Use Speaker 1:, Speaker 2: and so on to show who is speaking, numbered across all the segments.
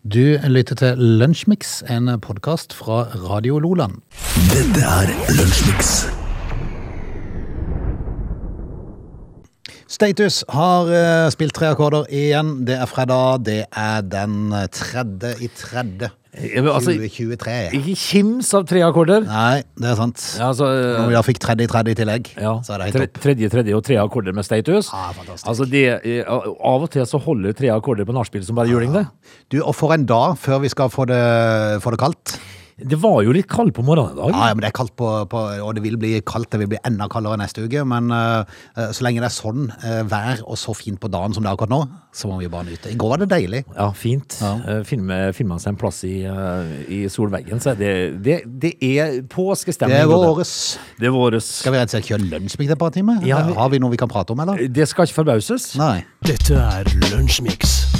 Speaker 1: Du lytter til Lunsjmix, en podkast fra Radio Loland.
Speaker 2: Dette er Lunsjmix.
Speaker 1: Status har eh, spilt tre akkorder igjen. Det er fredag. Det er den tredje i tredje
Speaker 3: Ja, men altså-
Speaker 1: 2023.
Speaker 3: Ikke kims av tre akkorder.
Speaker 1: Nei, det er sant.
Speaker 3: Ja, altså,
Speaker 1: Når vi da fikk tredje i tredje i tillegg,
Speaker 3: ja.
Speaker 1: så er det
Speaker 3: Tre-
Speaker 1: helt topp.
Speaker 3: Tredje, tredje og tre akkorder med status.
Speaker 1: Ah, fantastisk.
Speaker 3: altså, det, er- av og til så holder tre akkorder på nachspiel som bare juling,
Speaker 1: Ah.
Speaker 3: det.
Speaker 1: Du, og for en dag før vi skal få det, få det kaldt.
Speaker 3: Det var jo litt kaldt på morgenen i dag.
Speaker 1: Ja, ja, men det er kaldt på, på Og det vil bli kaldt, det vil bli enda kaldere neste uke. Men eh, eh, så lenge det er sånn eh, vær og så fint på dagen som det er akkurat nå, så må vi bare nyte. I går var det deilig.
Speaker 3: Ja, fint. Eh, Finner finner man seg en plass i, eh, i solveggen, så er det, det, det er påskestemning.
Speaker 1: Det er
Speaker 3: Odd.
Speaker 1: våres.
Speaker 3: Det er våres.
Speaker 1: Skal vi rett og slett kjøre lunsj et par timer?
Speaker 3: Ja, vi- Eh,
Speaker 1: Har vi noe vi kan prate om, eller?
Speaker 3: Det skal ikke forbauses.
Speaker 1: Nei.
Speaker 2: Dette er Lunsjmix.
Speaker 1: eh,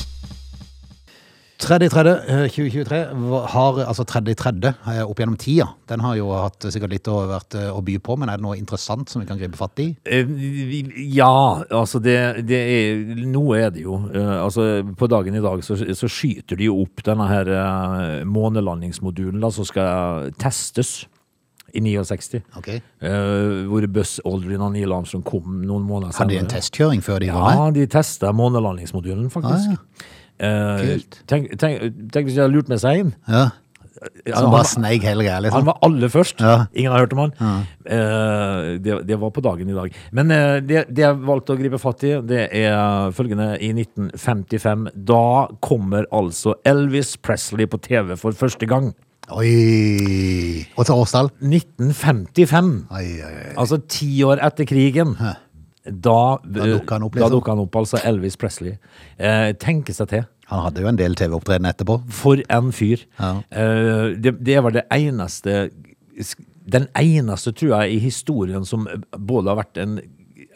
Speaker 1: 3.3.2023 har altså 3.3. eh, opp gjennom tida. Den har jo hatt sikkert litt å, vært, eh, å by på, men er det noe interessant som vi kan gripe fatt i?
Speaker 3: Eh, Ja, altså det, det er Noe er det jo. Eh, Altså På dagen i dag så, så skyter de jo opp denne her eh, månelandingsmodulen da, som skal testes i 69.
Speaker 1: Ok.
Speaker 3: Eh, hvor Buzz Aldrin og Neil Armstrong kom noen måneder
Speaker 1: Hadde de
Speaker 3: senere.
Speaker 1: en testkjøring før de var med?
Speaker 3: Ja, de testa månelandingsmodulen, faktisk. Eh,
Speaker 1: Kult.
Speaker 3: tenk, tenk, tenk hvis de hadde lurt med seg inn.
Speaker 1: Ja.
Speaker 3: Ja,
Speaker 1: Som bare
Speaker 3: han-
Speaker 1: sneik hele greia,
Speaker 3: han
Speaker 1: liksom?
Speaker 3: var aller først.
Speaker 1: Ja.
Speaker 3: Ingen har hørt om han. Eh, det, det var på dagen i dag. Men eh, det, det jeg valgte å gripe fatt i, det er følgende. I 1955, da kommer altså Elvis Presley på TV for første gang.
Speaker 1: Oi! Og til årstall?
Speaker 3: 1955!
Speaker 1: Oi, oi, oi.
Speaker 3: Altså ti år etter krigen. Da,
Speaker 1: Da dukket han opp,
Speaker 3: Da
Speaker 1: liksom.
Speaker 3: dukket han opp, altså. Elvis Presley. Eh, tenke seg til.
Speaker 1: Han hadde jo en del TV-opptreden etterpå.
Speaker 3: For en fyr.
Speaker 1: Ja.
Speaker 3: Eh, det, det var det eneste Den eneste, tror jeg, i historien som eh, både har vært en,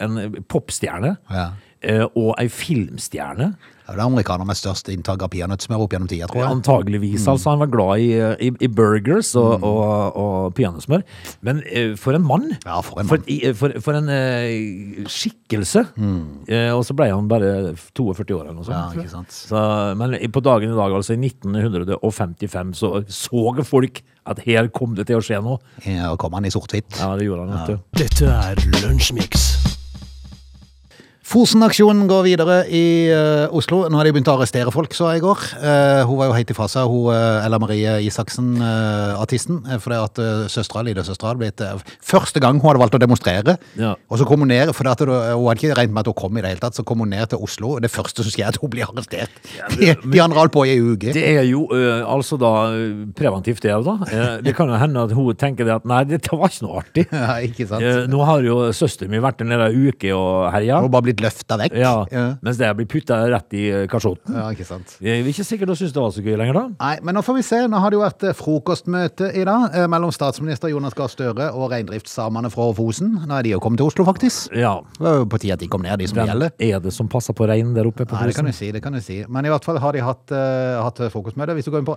Speaker 3: en popstjerne
Speaker 1: Ja.
Speaker 3: eh, og ei filmstjerne.
Speaker 1: Det er jo amerikaner med størst inntak av peanøttsmør opp gjennom tida, tror jeg.
Speaker 3: Antageligvis,
Speaker 1: Mm.
Speaker 3: altså. Han var glad i, i, i burgers og, og, og peanøttsmør. Men eh, for en mann!
Speaker 1: Ja, for en
Speaker 3: For, i- for, for en eh, skikkelse. Eh, og så ble han bare 42 år eller noe
Speaker 1: Mm.
Speaker 3: sånt.
Speaker 1: Ja,
Speaker 3: tror jeg.
Speaker 1: ikke sant.
Speaker 3: Så, men i- på dagen i dag, altså i 1955, så så folk at her kom det til å skje noe.
Speaker 1: Ja, Og kom han i sort-hvitt.
Speaker 3: Ja, det gjorde han. vet du.
Speaker 2: Dette er Lunsjmix.
Speaker 1: Fosen-aksjonen går videre i eh, Oslo. Nå har de begynt å arrestere folk, så jeg i går. Eh, hun var jo helt ifra seg, hun eh, Ella Marie Isaksen, eh, artisten. eh, fordi at uh, søstera, lillesøstera, hadde blitt eh, Første gang hun hadde valgt å demonstrere.
Speaker 3: Ja.
Speaker 1: Og så kom hun ned, for at hun, eh, hun hadde ikke regnet med at hun kom i det hele tatt, så kom hun ned til Oslo. og Det første som skjer, er at hun blir arrestert. de, de andre holdt på i ei uke.
Speaker 3: Det er jo eh, altså da eh, preventivt, det òg, da. Eh, det kan jo hende at hun tenker det at nei, dette var ikke noe artig.
Speaker 1: ja, ikke sant?
Speaker 3: Eh, nå har jo søsteren min vært der nede ei uke og herja.
Speaker 1: Hun har bare blitt løfta vekk.
Speaker 3: Ja,
Speaker 1: Ja.
Speaker 3: mens det blir putta rett i eh, kasjotten.
Speaker 1: ja, ikke sant.
Speaker 3: Jeg er ikke sikkert hun syns det var så gøy lenger, da.
Speaker 1: Nei, men nå får vi se. Nå har det jo vært eh, frokostmøte i dag eh, mellom statsminister Jonas Gahr Støre og reindriftssamene fra Fosen. Nå er de jo kommet til Oslo, faktisk.
Speaker 3: Ja.
Speaker 1: Det var jo på tide at de kom ned, de som det
Speaker 3: Hvem
Speaker 1: gjelder.
Speaker 3: er det som passer på reinen der oppe på
Speaker 1: Nei, det kan
Speaker 3: Fosen?
Speaker 1: du si, det kan du si. Men i hvert fall har de hatt, eh, hatt frokostmøte. Hvis du går inn på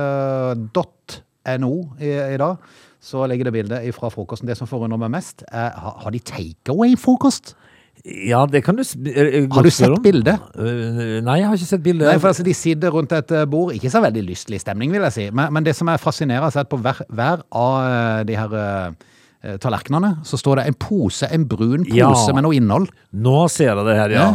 Speaker 1: eh, nrk.no i, i dag, så legger det bildet fra frokosten. Det som forundrer meg mest, er ha- har de takeaway-frokost?
Speaker 3: Ja, det kan du s- eh, eh,
Speaker 1: Har du
Speaker 3: godt
Speaker 1: sett
Speaker 3: spørre om.
Speaker 1: bildet?
Speaker 3: Eh, Nei, jeg har ikke sett bildet.
Speaker 1: Nei, for altså, De sitter rundt et eh, bord. Ikke så veldig lystelig stemning, vil jeg si. Men, men det som er fascinerende, er at på hver, hver av eh, de her eh, tallerkenene så står det en pose, en brun pose
Speaker 3: Ja.
Speaker 1: med noe innhold.
Speaker 3: Nå ser jeg det her, ja.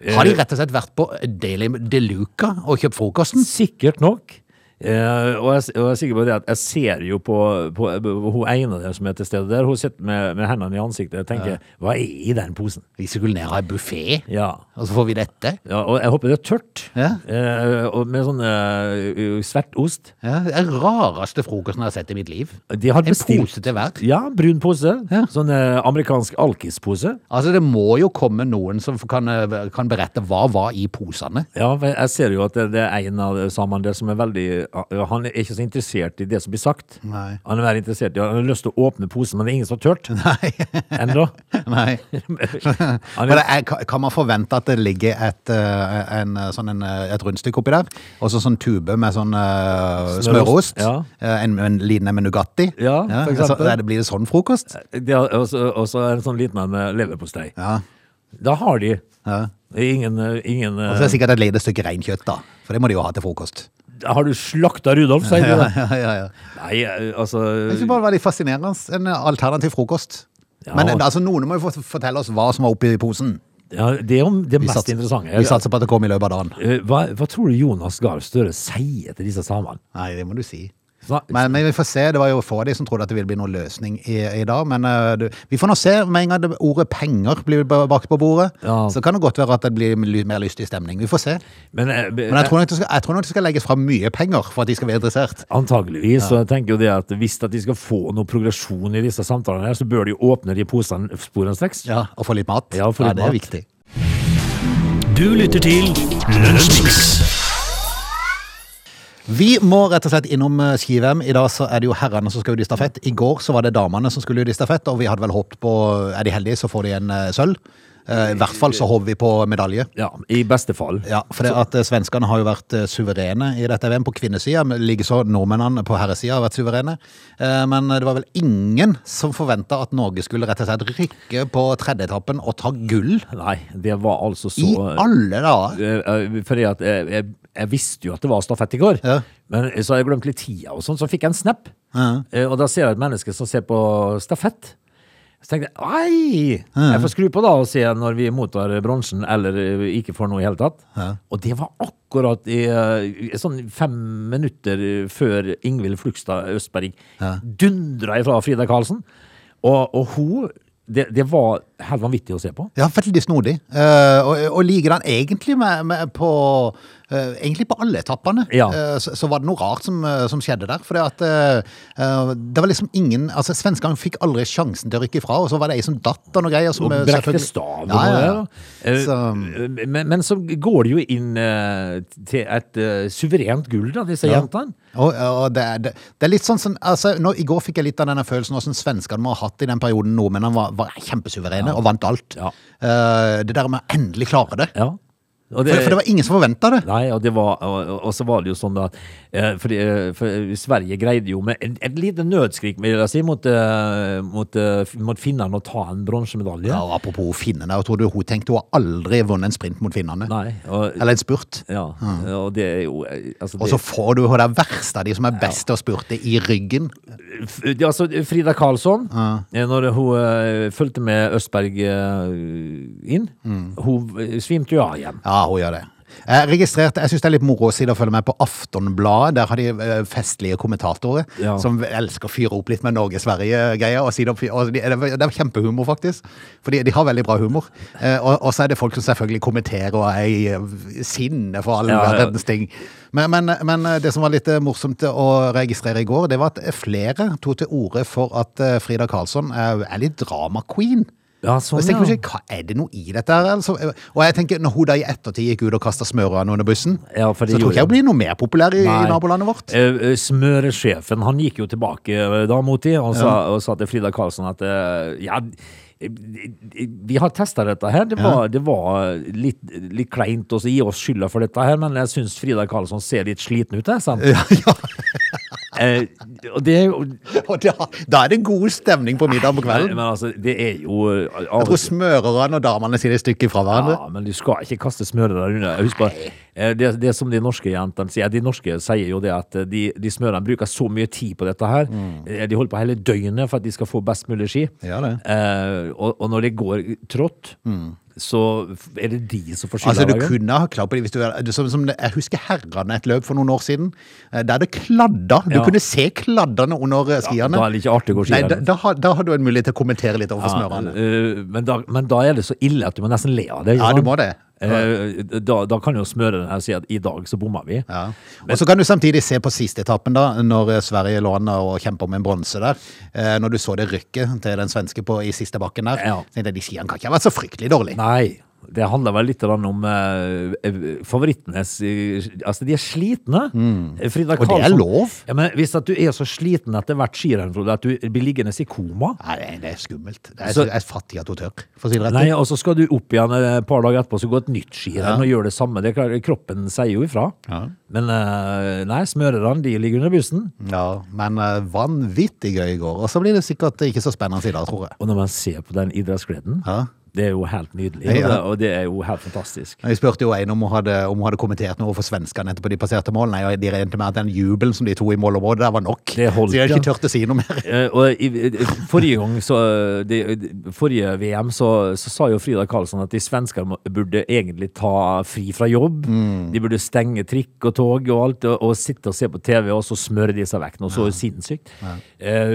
Speaker 3: Eh.
Speaker 1: Har de rett og slett vært på Daily Deluca og kjøpt frokosten?
Speaker 3: Sikkert nok. Eh, og, jeg, og jeg er sikker på det at jeg ser jo på, på, på hun ene der som er til stede der. Hun sitter med, med hendene i ansiktet og tenker Hva er i den posen?
Speaker 1: Vi skulle ned ha en buffé,
Speaker 3: Ja.
Speaker 1: og så får vi dette.
Speaker 3: ja. Og jeg håper det er tørt.
Speaker 1: Ja.
Speaker 3: Eh, og med sånn eh, svart ost.
Speaker 1: Ja, det er den rareste frokosten jeg har sett i mitt liv.
Speaker 3: De har
Speaker 1: En
Speaker 3: bestilt
Speaker 1: pose til hver.
Speaker 3: Ja, brun pose.
Speaker 1: Ja.
Speaker 3: Sånn eh, amerikansk alkispose.
Speaker 1: Altså, Det må jo komme noen som kan, eh, kan berette hva var i posene.
Speaker 3: Ja, for jeg ser jo at det, det er en av samene der som er veldig Han er ikke så interessert i det som blir sagt.
Speaker 1: Nei.
Speaker 3: Han er veldig interessert i Han har lyst til å åpne posen, men det er ingen som har turt. Ennå.
Speaker 1: Nei.
Speaker 3: Han
Speaker 1: Men det
Speaker 3: er,
Speaker 1: er, kan- kan man forvente at det ligger et, eh, en, eh, sånn en, eh, et rundstykke oppi der? Og så sånn tube med sånn eh,
Speaker 3: Smørost,
Speaker 1: smørost?
Speaker 3: ja.
Speaker 1: Eh, En, en liten en med Nugatti? altså,
Speaker 3: Ja, for
Speaker 1: så
Speaker 3: eksempel. Eh,
Speaker 1: er det, blir det sånn frokost?
Speaker 3: det er også, også en sånn liten en med leverpostei.
Speaker 1: Ja.
Speaker 3: Da har de
Speaker 1: Ja.
Speaker 3: ingen, eh, ingen eh,
Speaker 1: Og så er det sikkert et lite stykke reinkjøtt, da. For det må de jo ha til frokost.
Speaker 3: eh, Har du slakta Rudolf, sier
Speaker 1: Ja,
Speaker 3: du det?
Speaker 1: ja, ja, ja.
Speaker 3: Nei, eh, altså
Speaker 1: Jeg synes bare det var litt fascinerende. En eh, alternativ frokost.
Speaker 3: Ja.
Speaker 1: Men eh, altså, noen må jo få- fortelle oss hva som var oppi posen.
Speaker 3: ja, Det er jo det mest
Speaker 1: sats-
Speaker 3: interessante.
Speaker 1: vi satser på at det kom i løpet av dagen.
Speaker 3: Eh, Hva, hva tror du Jonas Gahr Støre sier til disse samene?
Speaker 1: Nei, det må du si.
Speaker 3: Sna-
Speaker 1: Men, men vi får se. Det var jo få av de som trodde at det ville bli noen løsning i, i dag. Men eh, du, vi får nå se. Med en gang det- ordet penger blir b- bakt på bordet,
Speaker 3: Ja.
Speaker 1: så kan det godt være at det blir ly- mer lystig stemning. Vi får se.
Speaker 3: Men, eh,
Speaker 1: Men jeg tror nok det skal, jeg tror nok det skal legges fram mye penger for at de skal bli interessert.
Speaker 3: Antageligvis. Og jeg tenker jo det at hvis at de skal få noe progresjon i disse samtalene, her, så bør de jo åpne de posene sporenstreks.
Speaker 1: Ja, Og få litt mat.
Speaker 3: Ja, få litt
Speaker 1: det er viktig.
Speaker 3: mat.
Speaker 2: Du lytter til Lunsjmix.
Speaker 1: Vi må rett og slett innom eh, ski-VM. I dag så er det jo herrene som skal ut i stafett. I går så var det damene som skulle ut i stafett, og vi hadde vel håpet på Er de heldige, så får de en eh, sølv. Eh, I hvert fall så håper vi på medalje.
Speaker 3: Ja, I beste fall.
Speaker 1: Ja, for det at eh, svenskene har jo vært eh, suverene i dette VM på kvinnesida, men likeså nordmennene på herresida har vært suverene. Eh, Men det var vel ingen som forventa at Norge skulle rett og slett rykke på tredjeetappen og ta gull
Speaker 3: Nei, det var altså så
Speaker 1: i alle dager.
Speaker 3: Eh, eh, Fordi at jeg, jeg, jeg visste jo at det var stafett i går,
Speaker 1: Ja.
Speaker 3: men så har jeg glemt litt tida og sånn, så fikk jeg en snap. Eh, Og da ser jeg et menneske som ser på stafett. Så tenkte jeg ei, jeg får skru på da og se når vi mottar bronsen eller eh, ikke får noe i hele tatt. Og det var akkurat i, eh, i sånn fem minutter før Ingvild Flugstad Østberg dundra ifra Frida Karlsen. Og, og hun det, det var helt vanvittig å se på.
Speaker 1: Ja, veldig snodig. Eh, og, og likedan egentlig med, med på eh, Egentlig på alle etappene
Speaker 3: Ja.
Speaker 1: eh, så, så var det noe rart som, eh, som skjedde der. For det at eh, eh, det var liksom ingen Altså, svenskene fikk aldri sjansen til å rykke ifra, og så var det ei som datt og noe greier. Som,
Speaker 3: Og
Speaker 1: eh,
Speaker 3: brekte
Speaker 1: selvfølgelig-
Speaker 3: stav og
Speaker 1: Ja, ja, ja.
Speaker 3: noe der. da.
Speaker 1: Så-
Speaker 3: Eh, Men, men så går det jo inn eh, til et eh, suverent gull, da, disse
Speaker 1: Ja.
Speaker 3: jentene.
Speaker 1: Og, og det, er- det, det er litt sånn, som- altså, nå, I går fikk jeg litt av denne følelsen hvordan svenskene må ha hatt i den perioden nordmennene var, var kjempesuverene og vant alt.
Speaker 3: Ja.
Speaker 1: Eh, det der med å endelig klare det.
Speaker 3: Ja. Og
Speaker 1: For, for det var ingen som forventa det.
Speaker 3: Nei, og, det var, og, og så var det jo sånn da eh, for, eh, for Sverige greide jo med en- et lite nødskrik vil jeg si, mot, eh, mot, eh, f- mot finnene å ta en bronsemedalje.
Speaker 1: Ja, og apropos finnene, jeg tror du hun tenkte hun har aldri vunnet en sprint mot finnene.
Speaker 3: Nei, og,
Speaker 1: Eller en spurt.
Speaker 3: ja, og det er jo eh, altså,
Speaker 1: Og
Speaker 3: det-
Speaker 1: så får du hun der verste av de som er best til å spurte, i ryggen.
Speaker 3: F- ja, altså, Frida Karlsson, eh, når hun eh, fulgte med Østberg eh, inn,
Speaker 1: Mm.
Speaker 3: hun eh, svimte jo av igjen.
Speaker 1: Ja, hun gjør det. Jeg registrerte, jeg synes det er litt moro å si det og følge med på Aftonbladet. Der har de eh, festlige kommentatorer
Speaker 3: Ja.
Speaker 1: som elsker å fyre opp litt med Norge-Sverige-greier. og si det opp- og de- Det er- det er kjempehumor, faktisk. For de, de har veldig bra humor. Eh, Og, og så er det folk som selvfølgelig kommenterer og er i eh, sinne for all
Speaker 3: Ja, ja.
Speaker 1: verdens ting. Men, men, men det som var litt eh, morsomt å registrere i går, det var at flere tok til orde for at eh, Frida Karlsson er er litt drama-queen.
Speaker 3: Ja, sånn,
Speaker 1: Og så tenker
Speaker 3: ja.
Speaker 1: jeg, hva er det noe i dette her? Altså, og jeg tenker, når hun da i ettertid gikk ut og kastet smørøren under bussen,
Speaker 3: Ja, for det
Speaker 1: så tror
Speaker 3: gjorde
Speaker 1: ikke jeg
Speaker 3: hun.
Speaker 1: hun blir noe mer populær i, i
Speaker 3: Nei.
Speaker 1: nabolandet vårt.
Speaker 3: Eh, eh, Smøresjefen han gikk jo tilbake eh, da mot de og, sa- og sa til Frida Karlsson at eh, ja, eh, vi har testa dette her. Det var, det var eh, litt, litt kleint å gi oss skylda for dette her, men jeg syns Frida Karlsson ser litt sliten ut, jeg, sa han.
Speaker 1: Ja, ja.
Speaker 3: Eh, Og det er jo
Speaker 1: Og da, da er det god stemning på middag på kvelden.
Speaker 3: Men altså, det er jo eh,
Speaker 1: Jeg tror smørerne og damene sier det stykket fra hverandre.
Speaker 3: Ja, men du skal ikke kaste smøret der under. Husk bare, eh, det, det som de norske jentene sier, de norske sier jo det at eh, de, de smørene bruker så mye tid på dette her.
Speaker 1: Mm.
Speaker 3: Eh, De holder på hele døgnet for at de skal få best mulig ski.
Speaker 1: Ja, det. Mm.
Speaker 3: Eh, og, og når det går trått, så f- er det de som får skylda.
Speaker 1: Altså, du
Speaker 3: hver gang.
Speaker 1: kunne ha klart på det hvis du du- som, som, Jeg husker herrene et løp for noen år siden, eh, der det kladda. Du
Speaker 3: Ja.
Speaker 1: kunne se kladdene under eh, skiene.
Speaker 3: da er det ikke artig å gå ski
Speaker 1: Nei,
Speaker 3: heller.
Speaker 1: da, da, har- da har du en mulighet til å kommentere litt overfor
Speaker 3: Ja,
Speaker 1: smørerne.
Speaker 3: eh, men, da, men da er det så ille at du må nesten le av det. ikke
Speaker 1: Ja, du
Speaker 3: sant?
Speaker 1: må det.
Speaker 3: Eh, da, da kan jo smøreren her si at i dag så bomma vi.
Speaker 1: Ja. Og så kan du samtidig se på siste etappen da, når eh, Sverige lå an og kjemper om en bronse der. Eh, når du så det rykket til den svenske på, i siste bakken der,
Speaker 3: Ja.
Speaker 1: tenkte jeg de skiene kan ikke ha vært så fryktelig dårlig.
Speaker 3: Nei, det handler vel litt grann om eh, eh, favorittenes eh, Altså, de er slitne. Frida
Speaker 1: Mm. Og det er
Speaker 3: Karlsson-
Speaker 1: lov.
Speaker 3: Ja, men hvis at du er så sliten etter hvert skirenn, Frode, at du blir liggende i koma
Speaker 1: Nei, det er- det er skummelt. Det er,
Speaker 3: Så-
Speaker 1: jeg er fattig at hun tør, for å si det rett.
Speaker 3: Nei, og så skal du opp igjen et par dager etterpå Så gå et nytt skirenn og gjøre det samme. Det er klart, kroppen sier jo ifra.
Speaker 1: Ja.
Speaker 3: Men eh, nei, smørerne de ligger under bussen.
Speaker 1: Ja, men eh, vanvittig gøy i går. Og så blir det sikkert ikke så spennende i dag, tror jeg.
Speaker 3: Og når man ser på den idrettsgleden
Speaker 1: Ja.
Speaker 3: Det er jo helt nydelig,
Speaker 1: Ja.
Speaker 3: og det- og det er jo helt fantastisk.
Speaker 1: Jeg spurte jo en om hun hadde, om hun hadde kommentert noe for svenskene etterpå de passerte mål. Nei, og de regnet med at den jubelen som de to i målområdet der var nok.
Speaker 3: Det holdt,
Speaker 1: så de hadde
Speaker 3: ja.
Speaker 1: ikke tørt å si noe mer.
Speaker 3: Eh, og i, i- forrige gang, så, eh, de, de- forrige VM, så, så sa jo Frida Karlsson at de svensker må- burde egentlig ta fri fra jobb. De burde stenge trikk og tog og alt, og, og sitte og se på TV, og så smøre de seg vekk. Noe så sinnssykt. Eh,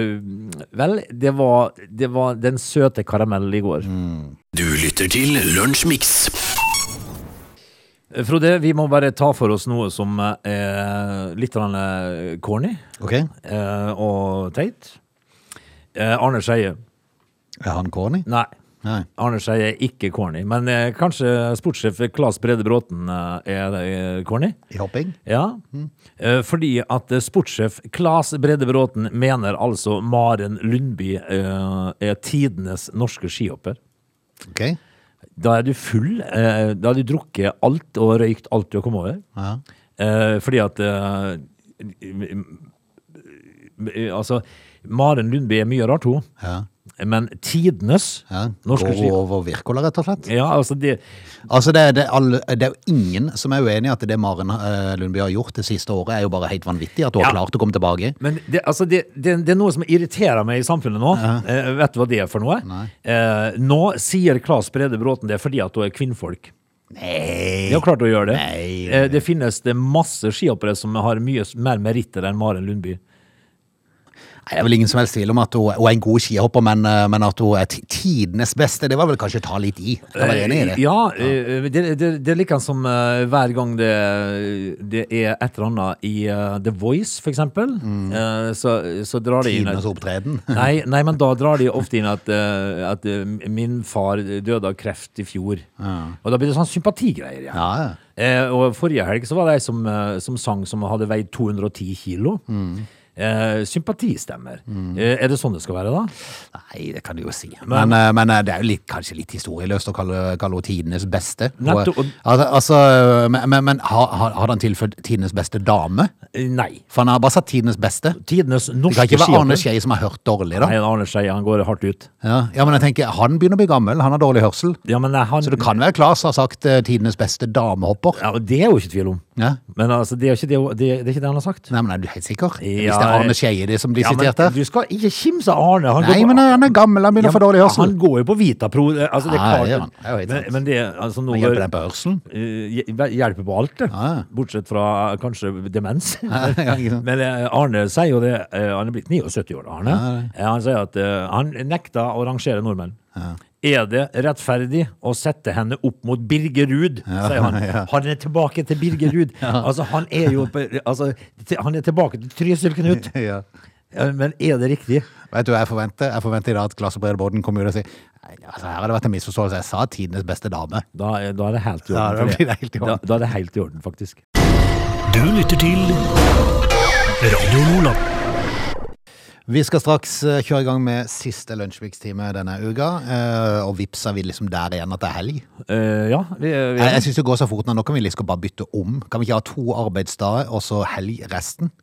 Speaker 3: vel, det var, det var den søte karamellen i går.
Speaker 2: Du lytter til Lunsjmix.
Speaker 3: Eh, Frode, vi må bare ta for oss noe som eh, er litt grann, eh, corny
Speaker 1: Ok,
Speaker 3: eh, og teit. Eh, Arne Skeie.
Speaker 1: Er han corny?
Speaker 3: Nei.
Speaker 1: Nei.
Speaker 3: Arne Skeie er ikke corny, men eh, kanskje sportssjef Claes Brede Bråten eh, er eh, corny?
Speaker 1: I hopping?
Speaker 3: Ja,
Speaker 1: Mm.
Speaker 3: eh, fordi at eh, sportssjef Claes Brede Bråten mener altså Maren Lundby eh, er tidenes norske skihopper.
Speaker 1: Ok.
Speaker 3: Da er du full, eh, da har du drukket alt og røykt alt du har kommet over.
Speaker 1: Ja.
Speaker 3: Eh, fordi at eh, m- m- Altså, Maren Lundby er mye rart, hun.
Speaker 1: ja.
Speaker 3: Men tidenes
Speaker 1: ja.
Speaker 3: norske
Speaker 1: Går
Speaker 3: skihopper
Speaker 1: over Wirkola, rett og slett.
Speaker 3: ja, altså det,
Speaker 1: Altså, det, er- det, er alle, det er jo ingen som er uenig i at det Maren eh, Lundby har gjort det siste året, er jo bare helt vanvittig. At hun har
Speaker 3: Ja.
Speaker 1: klart å komme tilbake.
Speaker 3: Men det, altså det, det, det er noe som irriterer meg i samfunnet nå. Eh, vet du hva det er for noe? Eh, nå sier Claes Brede Bråten det fordi at hun er kvinnfolk.
Speaker 1: Nei.
Speaker 3: De har klart å gjøre det.
Speaker 1: Nei.
Speaker 3: Eh, det finnes det masse skihoppere som har mye s- mer meritter enn Maren Lundby.
Speaker 1: Nei, Det er vel ingen som helst tvil om at hun, hun er en god skihopper, men, eh, men at hun er ti- tidenes beste, det var vel kanskje å ta litt i. Kan være enig i det.
Speaker 3: Eh, Ja, eh, det, det, det er like som eh, hver gang det, det er et eller annet i eh, The Voice, for eksempel.
Speaker 1: Mm.
Speaker 3: Eh, så, så drar de inn et-
Speaker 1: Tidenes opptreden.
Speaker 3: Nei, nei, men da drar de ofte inn at, eh, at eh, min far døde av kreft i fjor. Og da blir det sånn sympatigreier igjen.
Speaker 1: Ja, ja.
Speaker 3: Eh, og forrige helg så var det ei som, eh, som sang som hadde veid 210 kilo.
Speaker 1: Mm.
Speaker 3: Eh, sympatistemmer. Eh, er det sånn det skal være, da?
Speaker 1: Nei, det kan du jo si. Men, eh, men eh, det er jo litt, kanskje litt historieløst å kalle, kalle henne tidenes beste. Og,
Speaker 3: Nettopp, og-
Speaker 1: altså, altså, men men, men har, har har han tilføyd tidenes beste dame?
Speaker 3: Eh, nei.
Speaker 1: For han har bare sagt tidenes beste.
Speaker 3: Tidenes
Speaker 1: Det kan
Speaker 3: norske
Speaker 1: ikke være Arne
Speaker 3: skihopper.
Speaker 1: Skei som har hørt dårlig, da.
Speaker 3: Nei, Arne Skei, han går hardt ut.
Speaker 1: Ja. ja, men jeg tenker, Han begynner å bli gammel, han har dårlig hørsel.
Speaker 3: Ja, men eh, han,
Speaker 1: Så det kan være Klas har sagt eh, tidenes beste damehopper.
Speaker 3: ja, det er jo ikke tvil om.
Speaker 1: Ja.
Speaker 3: Men altså, det er ikke det, det, det, er ikke det han har sagt.
Speaker 1: Nei, men Er du helt sikker? Hvis
Speaker 3: Ja,
Speaker 1: det er Arne
Speaker 3: jeg-
Speaker 1: Skeie de som blir
Speaker 3: Ja, men
Speaker 1: sitert der?
Speaker 3: Du skal ikke kimse av Arne. Han går
Speaker 1: Nei,
Speaker 3: på-
Speaker 1: men eh, han er gammel, han begynner å få dårlig
Speaker 3: Ja,
Speaker 1: hørsel.
Speaker 3: Han går jo på Vitapro. eh, Altså, det er
Speaker 1: Ja,
Speaker 3: klart,
Speaker 1: det gjør han. Det er jo helt
Speaker 3: men,
Speaker 1: sant.
Speaker 3: men det er, altså, noe,
Speaker 1: Men Hjelper den på hørselen?
Speaker 3: eh, hj- hjelper på alt, det.
Speaker 1: Ja.
Speaker 3: Bortsett fra eh, kanskje demens.
Speaker 1: Ja, ikke sant.
Speaker 3: Men eh, Arne sier jo det eh, Han er blitt 79 år, da, Arne. Eh, Han sier at eh, han nekta å rangere nordmenn. Er det rettferdig å sette henne opp mot Birger Ruud, sier han. Han er tilbake til Birger Ruud. Altså, han er jo på- altså, til- Han er tilbake til Trysil Knut.
Speaker 1: Ja.
Speaker 3: Ja, Men er det riktig?
Speaker 1: Vet du hva jeg forventer? Jeg forventer i dag at Klasse Brede Borden kommer ut og sier «Nei, altså, her har det vært en misforståelse. Jeg sa tidenes beste dame.
Speaker 3: Da, er- da er det helt i
Speaker 1: Da
Speaker 3: orden. for
Speaker 1: blir det helt i orden.
Speaker 3: Da, da er det helt i orden, faktisk.
Speaker 2: Du lytter til Radio Nordland.
Speaker 1: Vi skal straks eh, kjøre i gang med siste lunsjmikstime denne uka, eh, og vips er vi liksom der igjen at det er helg.
Speaker 3: Eh, ja, vi, vi
Speaker 1: Jeg, jeg syns det går så fort nå. Nå kan vi liksom bare bytte om. Kan vi ikke ha to arbeidsdager og så helg resten?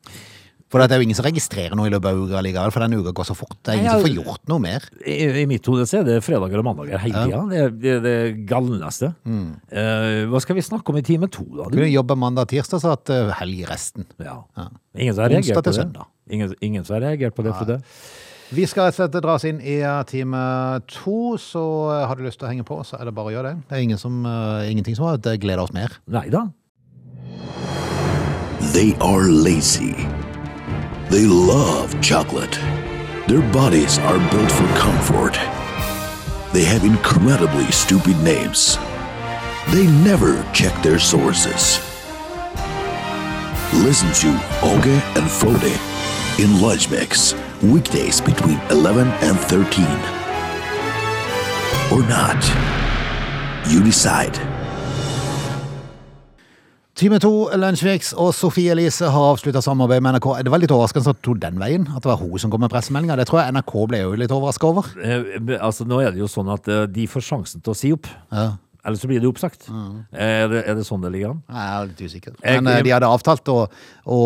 Speaker 1: For det er jo ingen som registrerer noe i løpet av uka likevel, for denne uka går så fort. Det er ingen som får gjort noe mer.
Speaker 3: I, I mitt hode så er det fredager og mandager hele tida. Det, er- det er det galneste.
Speaker 1: Mm.
Speaker 3: Eh, hva skal vi snakke om i time to, da? Du?
Speaker 1: Kunne jobbe mandag og tirsdag, så at eh, helg resten.
Speaker 3: Ja. Ingen som har reagert
Speaker 1: Onsdag
Speaker 3: på
Speaker 1: til
Speaker 3: det?
Speaker 1: søndag.
Speaker 3: Ingen, ingen som har reagert på det, Frode?
Speaker 1: Vi skal rett og slett dras inn i eh, time to, så eh, har du lyst til å henge på, så er det bare å gjøre det. Det er ingen som, eh, ingenting som har gleda oss mer.
Speaker 3: Nei da.
Speaker 4: They are lazy. They love chocolate. Their bodies are built for comfort. They have incredibly stupid names. They never check their sources. Listen to Oge and Frode in Lunch Mix, weekdays between 11 and 13. Or not. You decide.
Speaker 1: Time to, Lunsjviks og Sofie Elise har avslutta samarbeid med NRK. Det var litt overraskende at det tok den veien, at det var hun som kom med pressemeldinga. Det tror jeg NRK ble jo litt overraska over.
Speaker 3: Eh, men altså, nå er det jo sånn at eh, de får sjansen til å si opp. Eller så blir de oppsagt.
Speaker 1: Mm.
Speaker 3: Eh, er, det, er det sånn det ligger an?
Speaker 1: Nei, Jeg er litt usikker.
Speaker 3: Jeg-
Speaker 1: Men eh, de hadde avtalt å, å,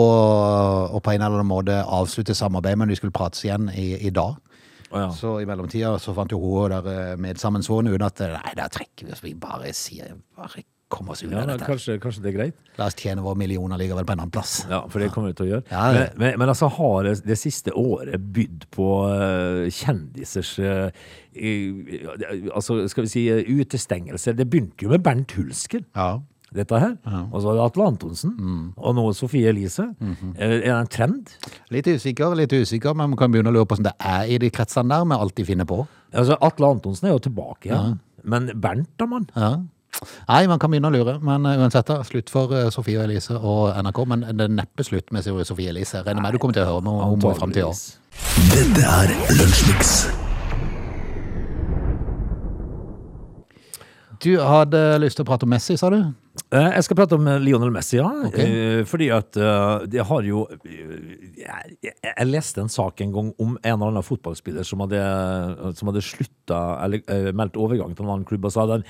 Speaker 1: å på en eller annen måte avslutte samarbeidet, men de skulle prates igjen i, i dag.
Speaker 3: Å, ja.
Speaker 1: Så i mellomtida så fant jo hun der eh, medsammensvorne ut at eh, nei, da trekker vi oss, vi bare sier bare kom oss unna
Speaker 3: Ja, da,
Speaker 1: dette. her.
Speaker 3: kanskje, kanskje det er greit?
Speaker 1: La oss tjene våre millioner likevel på en annen plass.
Speaker 3: Ja, for det kommer vi til å gjøre.
Speaker 1: Ja, det-
Speaker 3: Men, men, men altså, har det, det siste året bydd på eh, kjendisers eh, i- ja, det- Altså, skal vi si eh, utestengelser? Det begynte jo med Bernt Hulsker.
Speaker 1: Ja.
Speaker 3: Dette her, Og så var det Atle Antonsen,
Speaker 1: Mm.
Speaker 3: og nå Sofie Elise.
Speaker 1: Mhm.
Speaker 3: Eh, Er det en trend?
Speaker 1: Litt usikker, litt usikker, men man kan begynne å lure på hvordan det er i de kretsene der med alt de finner på.
Speaker 3: Altså, Atle Antonsen er jo tilbake igjen. Men Bernt, da, mann?
Speaker 1: Ja. Nei, man kan begynne å lure, men eh, uansett da, slutt for eh, Sofie og Elise og NRK, men det er neppe slutt med Sofie og Elise. Regner med du kommer til å høre om om henne frem til i år.
Speaker 3: Antageligvis.
Speaker 4: Dette er Lunsjmix.
Speaker 1: Du hadde lyst til å prate om Messi, sa du?
Speaker 3: Eh, Jeg skal prate om eh, Lionel Messi, ja. Eh, Fordi at eh, det har jo eh, Jeg, jeg- jeg leste en sak en gang om en eller annen fotballspiller som hadde, eh, som hadde slutta Eller eh, meldt overgang til en annen klubb, og så hadde han,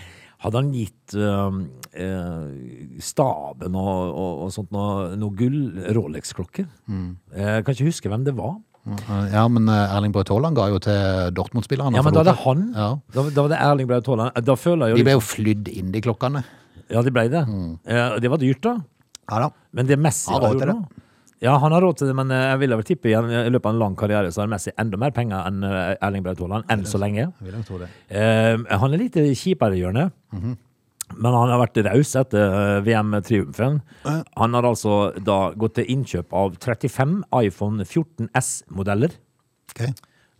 Speaker 3: hadde han gitt eh, eh, staben og, og, og sånt noe, noe gull, Rolex-klokker.
Speaker 1: Mm.
Speaker 3: Eh, Jeg kan ikke huske hvem det var.
Speaker 1: Ja, men eh, Erling Braut Haaland ga jo til Dortmund-spillerne.
Speaker 3: Ja,
Speaker 1: og
Speaker 3: men da var det
Speaker 1: forlot
Speaker 3: han.
Speaker 1: Ja.
Speaker 3: Da, da var det Erling Braut Haaland. Da føler jeg
Speaker 1: De
Speaker 3: jo
Speaker 1: ble Mm. jo flydd inn, de klokkene.
Speaker 3: Ja, de ble det. Eh, Det var dyrt, da.
Speaker 1: Ja da.
Speaker 3: Men det Messi
Speaker 1: Han
Speaker 3: har
Speaker 1: har råd
Speaker 3: gjort
Speaker 1: til
Speaker 3: nå Ja, han har råd til det, men eh, jeg vil vel tippe igjen, i løpet av en lang karriere så har Messi enda mer penger enn eh, Erling Braut Haaland, enn så lenge.
Speaker 1: Vil jeg tro det.
Speaker 3: Eh, han er litt kjipere i hjørnet,
Speaker 1: Mhm.
Speaker 3: men han har vært raus etter eh, VM-triumfen. Han har altså da gått til innkjøp av 35 iPhone 14S-modeller.
Speaker 1: Ok.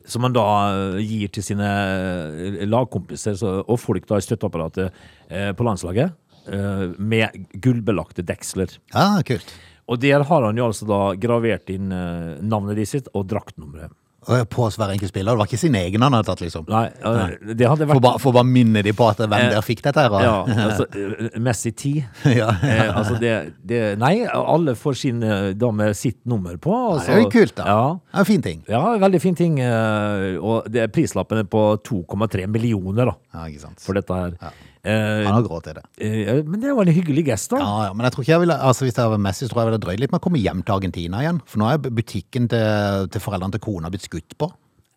Speaker 3: Som han da eh, gir til sine eh, lagkompiser så- og folk da i støtteapparatet eh, på landslaget. eh, Med gullbelagte deksler.
Speaker 1: Ja, kult.
Speaker 3: Og der har han jo altså da gravert inn eh, navnet de sitt og draktnummeret.
Speaker 1: Og jeg På hver enkelt spiller. Det var ikke sin egen han hadde tatt, liksom.
Speaker 3: Nei, eh, det hadde
Speaker 1: For
Speaker 3: vært
Speaker 1: bare, for bare minne de på at hvem der fikk dette her. og-
Speaker 3: Eh, ja, altså, eh, Messi 10.
Speaker 1: ja.
Speaker 3: Eh, altså det, det Nei, alle får sin eh, da med sitt nummer på.
Speaker 1: Det
Speaker 3: Altså.
Speaker 1: er jo kult, da.
Speaker 3: Ja.
Speaker 1: Det er en fin ting.
Speaker 3: ja, veldig fin ting. eh, Og det er prislappen er på 2,3 millioner da,
Speaker 1: Ja, ikke sant.
Speaker 3: for dette her.
Speaker 1: Han
Speaker 3: Eh,
Speaker 1: har grått i det.
Speaker 3: eh, men det var en hyggelig gest, da.
Speaker 1: Ja, ja, men jeg tror ikke jeg ville, altså hvis det var Messi, så tror jeg jeg ville drøyd litt med å komme hjem til Argentina igjen. For nå er bu- butikken til, til foreldrene til kona blitt skutt på.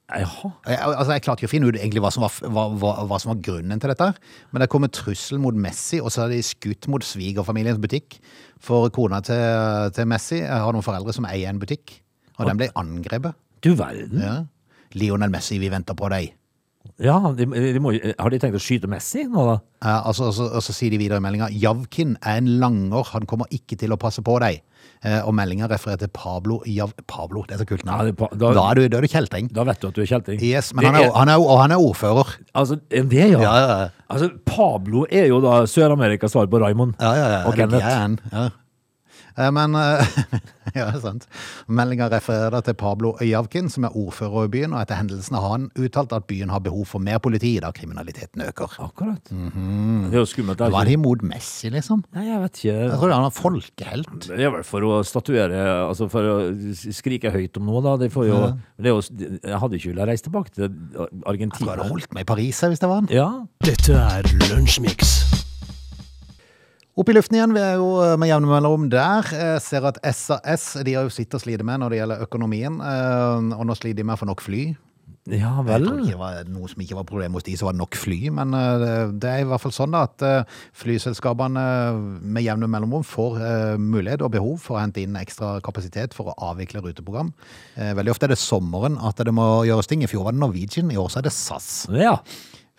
Speaker 3: Jaha.
Speaker 1: Jeg, altså, jeg klarte ikke å finne ut egentlig hva som var, f- hva, hva, hva som var grunnen til dette. her. Men det kom en trussel mot Messi, og så er de skutt mot svigerfamiliens butikk. For kona til, til Messi eh, har noen foreldre som eier en butikk, og den ble angrepet.
Speaker 3: Du verden.
Speaker 1: Ja. Lionel Messi, vi venter på deg.
Speaker 3: Ja, de, de må, jo- eh, har de tenkt å skyte Messi nå, da?
Speaker 1: Eh, altså, altså, og så sier de videre i meldinga Javkin er en langer, han kommer ikke til å passe på deg. Eh, og meldinga refererer til Pablo Jav... Pablo, det er så kult
Speaker 3: Ja,
Speaker 1: navn.
Speaker 3: det er pa-
Speaker 1: da,
Speaker 3: da-
Speaker 1: er du, da er du kjeltring.
Speaker 3: Da vet du at du er kjelting.
Speaker 1: Yes, men
Speaker 3: Det
Speaker 1: han er, jo- han er, jo- og han er ordfører.
Speaker 3: Altså, er det, ja.
Speaker 1: Ja, ja, ja.
Speaker 3: Altså, Pablo er jo da Sør-Amerikas svar på Raymond.
Speaker 1: Ja, ja, ja.
Speaker 3: Og
Speaker 1: Eller
Speaker 3: Kenneth.
Speaker 1: Gæren. Ja. Eh, Men eh, Ja, sant. Meldinga refererer til Pablo Øyavkin, som er ordfører i byen, og etter hendelsen har han uttalt at byen har behov for mer politi da kriminaliteten øker.
Speaker 3: Akkurat. Det er jo skummelt. Det er
Speaker 1: Var
Speaker 3: ikke...
Speaker 1: Mhm. det imot Messi, liksom?
Speaker 3: Nei, jeg vet
Speaker 1: Jeg
Speaker 3: ikke.
Speaker 1: tror han var folkehelt.
Speaker 3: Det er vel for å statuere Altså for å s- skrike høyt om noe, da. Det får jo, det er jo Jeg hadde ikke villet reise tilbake til
Speaker 1: Du hadde
Speaker 3: Argentina.
Speaker 1: holdt meg i Paris jeg, hvis det var han.
Speaker 3: Ja.
Speaker 2: Dette er Lunsjmix.
Speaker 1: Opp i luften igjen, vi er jo eh, med jevne mellomrom der. Jeg ser at SAS de har jo sitt å slite med når det gjelder økonomien. eh, Og nå sliter de med å få nok fly.
Speaker 3: ja
Speaker 1: Jeg
Speaker 3: vel.
Speaker 1: tror ikke det var noe som ikke var problem hos de som var det nok fly, men eh, det er i hvert fall sånn da at eh, flyselskapene eh, med jevne mellomrom får eh, mulighet og behov for å hente inn ekstra kapasitet for å avvikle ruteprogram. Eh, Veldig ofte er det sommeren at det må gjøres ting. I fjor var det Norwegian, i år så er det SAS.
Speaker 3: Ja.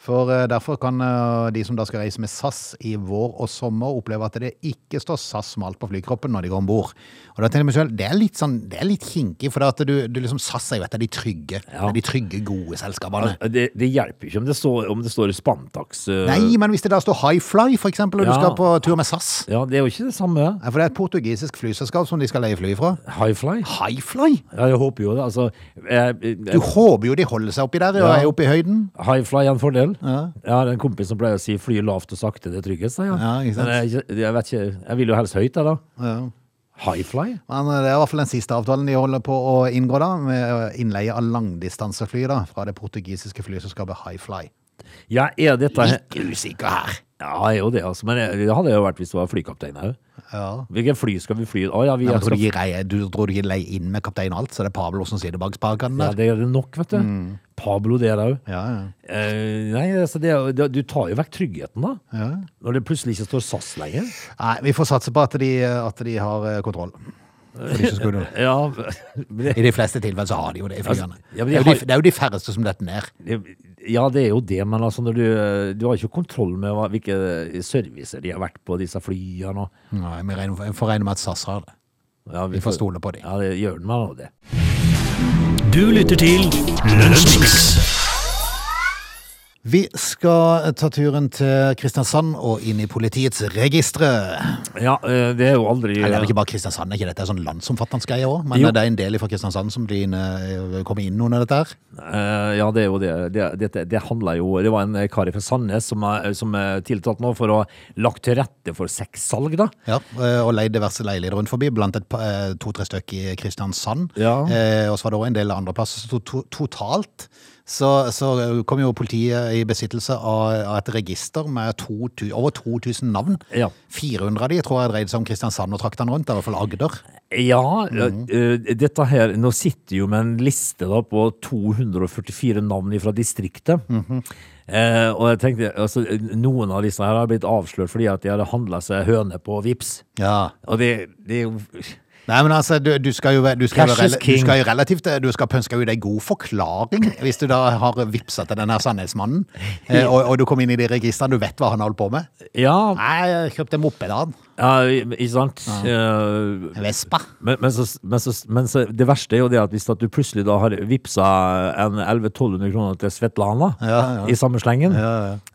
Speaker 1: For eh, derfor kan eh, de som da skal reise med SAS i vår og sommer, oppleve at det ikke står SAS smalt på flykroppen når de går om bord. Og da tenker jeg meg selv, det er litt sånn, det er litt kinkig, for det at du, du liksom, SAS er jo et av de trygge,
Speaker 3: Ja.
Speaker 1: de trygge, gode selskapene.
Speaker 3: Det, det hjelper ikke om det står, om det står Spantax eh,
Speaker 1: Nei, men hvis det da står High Fly, for eksempel, og du
Speaker 3: Ja.
Speaker 1: skal på tur med SAS
Speaker 3: Ja, det er jo ikke det samme.
Speaker 1: Nei, For det er et portugisisk flyselskap som de skal leie fly fra.
Speaker 3: Highfly.
Speaker 1: High Fly?
Speaker 3: Ja, jeg håper jo det. Altså jeg,
Speaker 1: Du håper jo de holder seg oppi der og
Speaker 3: Ja.
Speaker 1: er oppe i høyden.
Speaker 3: High fly er en fordel.
Speaker 1: Ja.
Speaker 3: Jeg har en kompis som pleier å si 'fly lavt og sakte, det er tryggest'. sier han.
Speaker 1: Ja, ikke sant.
Speaker 3: Men jeg, jeg vet ikke, jeg vil jo helst høyt, jeg, da.
Speaker 1: Ja.
Speaker 3: High fly?
Speaker 1: Men eh, det er i hvert fall den siste avtalen de holder på å inngå, da, med innleie av langdistansefly da, fra det portugisiske flyselskapet High Fly.
Speaker 3: Ja, er dette
Speaker 1: Litt usikker her.
Speaker 3: Ja, jeg er jo det, altså. Men det hadde jeg jo vært hvis du var flykaptein òg.
Speaker 1: Ja.
Speaker 3: Hvilket fly skal vi fly Å ja, vi
Speaker 1: Nei, men tror
Speaker 3: skal
Speaker 1: du ikke rei- du tror du ikke lei inn med kaptein alt, så det er Pablo som sitter bak spakene
Speaker 3: Ja,
Speaker 1: der? Mm.
Speaker 3: det er det nok, vet du. Pablo der òg.
Speaker 1: Ja, ja.
Speaker 3: Eh, nei, altså det, er jo- det, du tar jo vekk tryggheten, da.
Speaker 1: Ja.
Speaker 3: Når det plutselig ikke står SAS lenger.
Speaker 1: Nei, vi får satse på at de, at de har eh, kontroll. For de som skulle det.
Speaker 3: Ja, men det,
Speaker 1: I de fleste tilfeller så har de jo det i flyene.
Speaker 3: Altså, ja, men
Speaker 1: det, er
Speaker 3: de
Speaker 1: jo de,
Speaker 3: har-
Speaker 1: det er jo de færreste som detter ned.
Speaker 3: det- ja, det er jo det, men altså når du, du har ikke kontroll med hva, hvilke servicer de har vært på, disse flyene og
Speaker 1: Nei, vi regner, vi får regne med at SAS har det.
Speaker 3: ja,
Speaker 1: Vi får stole på de.
Speaker 3: Ja, det gjør man nå det.
Speaker 2: Du lytter til Lunsjmix.
Speaker 1: Vi skal ta turen til Kristiansand og inn i politiets registre.
Speaker 3: Ja, eh, det er jo aldri
Speaker 1: Eller er det ikke bare Kristiansand, er ikke dette en sånn landsomfattende greie òg? Men
Speaker 3: Jo.
Speaker 1: det er en del fra Kristiansand som blir inne, kommer inn under dette her.
Speaker 3: Eh, ja, det er jo det. Det, det, det handla jo Det var en kar fra Sandnes som er, som er tiltalt nå for å ha lagt til rette for sexsalg, da.
Speaker 1: Ja, eh, og leid diverse leiligheter rundt forbi, blant et pa- eh, to-tre stykk i Kristiansand.
Speaker 3: Ja.
Speaker 1: Eh, og så var det også en del andre plasser. Så to, to, totalt så, så kom jo politiet i besittelse av, av et register med to, tu- over 2000 navn.
Speaker 3: Ja.
Speaker 1: 400 av de tror jeg dreide seg om Kristiansand og traktene rundt, i hvert fall Agder.
Speaker 3: Ja, eh, dette her Nå sitter jo med en liste da på 244 navn fra distriktet. Eh, og jeg tenkte altså, Noen av disse her har blitt avslørt fordi at de hadde handla seg høne på Vips
Speaker 1: Ja.
Speaker 3: Og det, det er jo
Speaker 1: Nei, men altså, du, du skal jo være du skal, jo
Speaker 3: Cash
Speaker 1: være
Speaker 3: is
Speaker 1: rela- du
Speaker 3: king.
Speaker 1: skal jo relativt eh, Du skal pønske ut ei god forklaring hvis du da har vipsa til den her Sandnesmannen, eh, og, og du kom inn i de registrene, du vet hva han holder på med.
Speaker 3: Ja,
Speaker 1: Nei, jeg kjøpte moped av han.
Speaker 3: ja ikke sant? Eh,
Speaker 1: Vespa.
Speaker 3: Men, men, så, men, så, men så, det verste er jo det at hvis at du plutselig da har vippsa en 1100-1200 kroner til Svetlana
Speaker 1: Ja, ja.
Speaker 3: i samme slengen,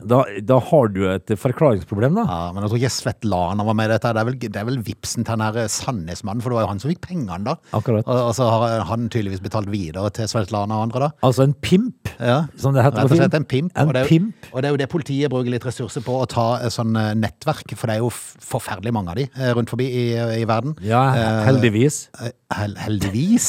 Speaker 3: Da, da har du et forklaringsproblem, da.
Speaker 1: Ja, men jeg tror ikke Svetlana var med i dette. Det er vel, det er vel vipsen til den her eh, Sandnesmannen, for det var jo han som fikk pengene da.
Speaker 3: Akkurat.
Speaker 1: Og, og så har han tydeligvis betalt videre til Svetlana og andre da.
Speaker 3: Altså en pimp,
Speaker 1: Ja.
Speaker 3: som det heter
Speaker 1: Rett
Speaker 3: på
Speaker 1: og slett
Speaker 3: film.
Speaker 1: en pimp.
Speaker 3: En
Speaker 1: og, det er, jo-
Speaker 3: pimp.
Speaker 1: og det er jo det politiet bruker litt ressurser på, å ta eh, sånn eh, nettverk, for det er jo f- forferdelig mange av de eh, rundt forbi i, i verden.
Speaker 3: Ja,
Speaker 1: Eh,
Speaker 3: heldigvis.
Speaker 1: eh, Hel heldigvis.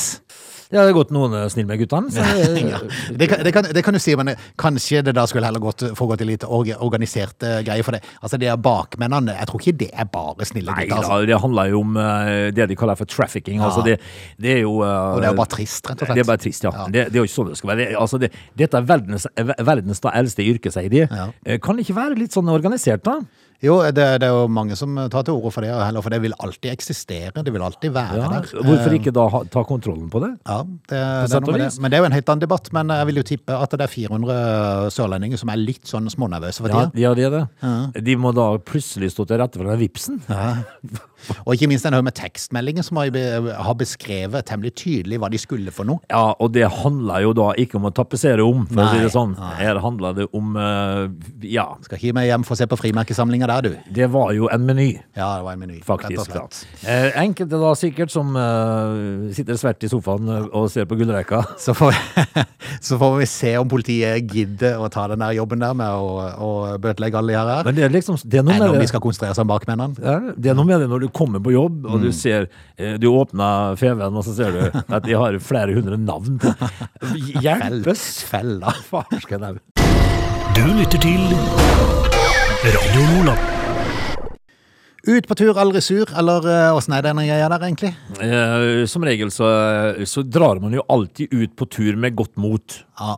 Speaker 3: Det hadde gått noen eh, snill med guttene. Så,
Speaker 1: ja. det, kan, det, kan, det kan du si, men eh, kanskje det da skulle heller gått, foregått i litt org organiserte greier for det. Altså, de er bakmennene. Jeg tror ikke det er bare snille
Speaker 3: Nei
Speaker 1: gutter.
Speaker 3: da,
Speaker 1: Altså.
Speaker 3: det handler jo om eh, det de kaller for trafficking. Altså det, det er jo eh,
Speaker 1: Og det er jo bare trist, rett og slett.
Speaker 3: Det er bare trist, ja. Det, det er jo ikke sånn det skal være. Det, altså det, dette er verdens, verdens da eldste yrke, sier de.
Speaker 1: Ja.
Speaker 3: Eh, Kan det ikke være litt sånn organisert, da?
Speaker 1: Jo, det, det er jo mange som tar til orde for det, og heller, for det vil alltid eksistere. Det vil alltid være
Speaker 3: Ja,
Speaker 1: der.
Speaker 3: hvorfor ikke da ha, ta kontrollen på det?
Speaker 1: Ja, det, det
Speaker 3: sett
Speaker 1: er noe
Speaker 3: og
Speaker 1: med det.
Speaker 3: vis.
Speaker 1: Men det er jo en helt annen debatt. Men jeg vil jo tippe at det er 400 sørlendinger som er litt sånn smånervøse for
Speaker 3: Ja,
Speaker 1: tida.
Speaker 3: ja det er det. De må da plutselig stå til rette for den vipsen.
Speaker 1: Og ikke minst den her med tekstmeldinger som har be- har beskrevet temmelig tydelig hva de skulle for noe.
Speaker 3: Ja, og det handler jo da ikke om å tapetsere om, for å si
Speaker 1: Nei,
Speaker 3: det sånn.
Speaker 1: nei.
Speaker 3: Her handler det om eh, Ja,
Speaker 1: Skal ikke gi meg hjem for å se på frimerkesamlinga der, du.
Speaker 3: det var jo en meny.
Speaker 1: Ja, det var en meny. rett og
Speaker 3: Faktisk. Da.
Speaker 1: slett.
Speaker 3: Eh, enkelte da sikkert som eh, sitter svært i sofaen eh, og ser på gullrekka.
Speaker 1: Så får, vi, så får vi se om politiet gidder å ta den der jobben der med å, å bøtelegge alle de her her.
Speaker 3: Men det er liksom det er noe
Speaker 1: Eller
Speaker 3: med
Speaker 1: om de
Speaker 3: det.
Speaker 1: skal konsentrere seg om bakmennene.
Speaker 3: Ja, Det er noe med det når du kommer på jobb og du
Speaker 1: Mm.
Speaker 3: ser eh, Du åpner FV-en, og så ser du at de har flere hundre navn på. Hjelpes!
Speaker 1: Fella.
Speaker 3: Farsken au.
Speaker 2: Du lytter til Radio Lola.
Speaker 1: Ut på tur, aldri sur, eller eh, åssen er det når jeg er der, egentlig?
Speaker 3: Eh, som regel så, så drar man jo alltid ut på tur med godt mot.
Speaker 1: Ja.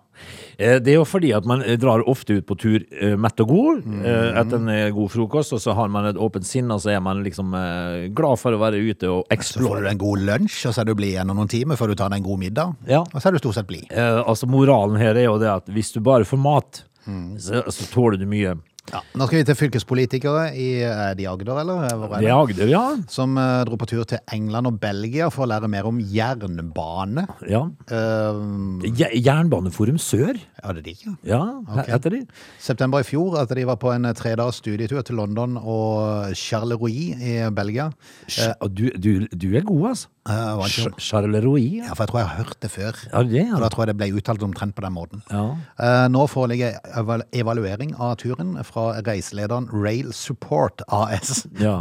Speaker 3: Eh, Det er jo fordi at man eh, drar ofte ut på tur eh, mett og god, eh, etter en eh, god frokost, og så har man et åpent sinn, og så er man liksom eh, glad for å være ute og
Speaker 1: Så får du
Speaker 3: eksplore.
Speaker 1: en god lunsj, og så er du blid gjennom noen timer før du tar deg en god middag.
Speaker 3: Ja.
Speaker 1: Og så er du stort sett blid.
Speaker 3: Eh, altså Moralen her er jo det at hvis du bare får mat, så, så tåler du mye.
Speaker 1: Nå skal vi til fylkespolitikere i er de i Agder, eller? Eh, Hvor er
Speaker 3: Det
Speaker 1: det?
Speaker 3: er Agder, ja.
Speaker 1: Som eh, dro på tur til England og Belgia for å lære mer om jernbane.
Speaker 3: ja.
Speaker 1: Eh,
Speaker 3: Je- Jernbaneforum Sør,
Speaker 1: ja, det er de ikke.
Speaker 3: ja, he- heter de.
Speaker 1: September i fjor, at de var på en eh, tredags studietur til London og Charleroi i eh, Belgia.
Speaker 3: Sj- Eh, og Du, du, du er god, altså.
Speaker 1: Eh, var det ikke om-
Speaker 3: Ch- Charleroi.
Speaker 1: ja,
Speaker 3: Ja.
Speaker 1: for jeg tror jeg har hørt det før.
Speaker 3: Ja, det
Speaker 1: Og
Speaker 3: er
Speaker 1: da
Speaker 3: det.
Speaker 1: tror jeg det ble uttalt omtrent på den måten.
Speaker 3: Ja.
Speaker 1: Eh, Nå foreligger eval- evaluering av turen fra reiselederen Rail Support AS.
Speaker 3: Ja.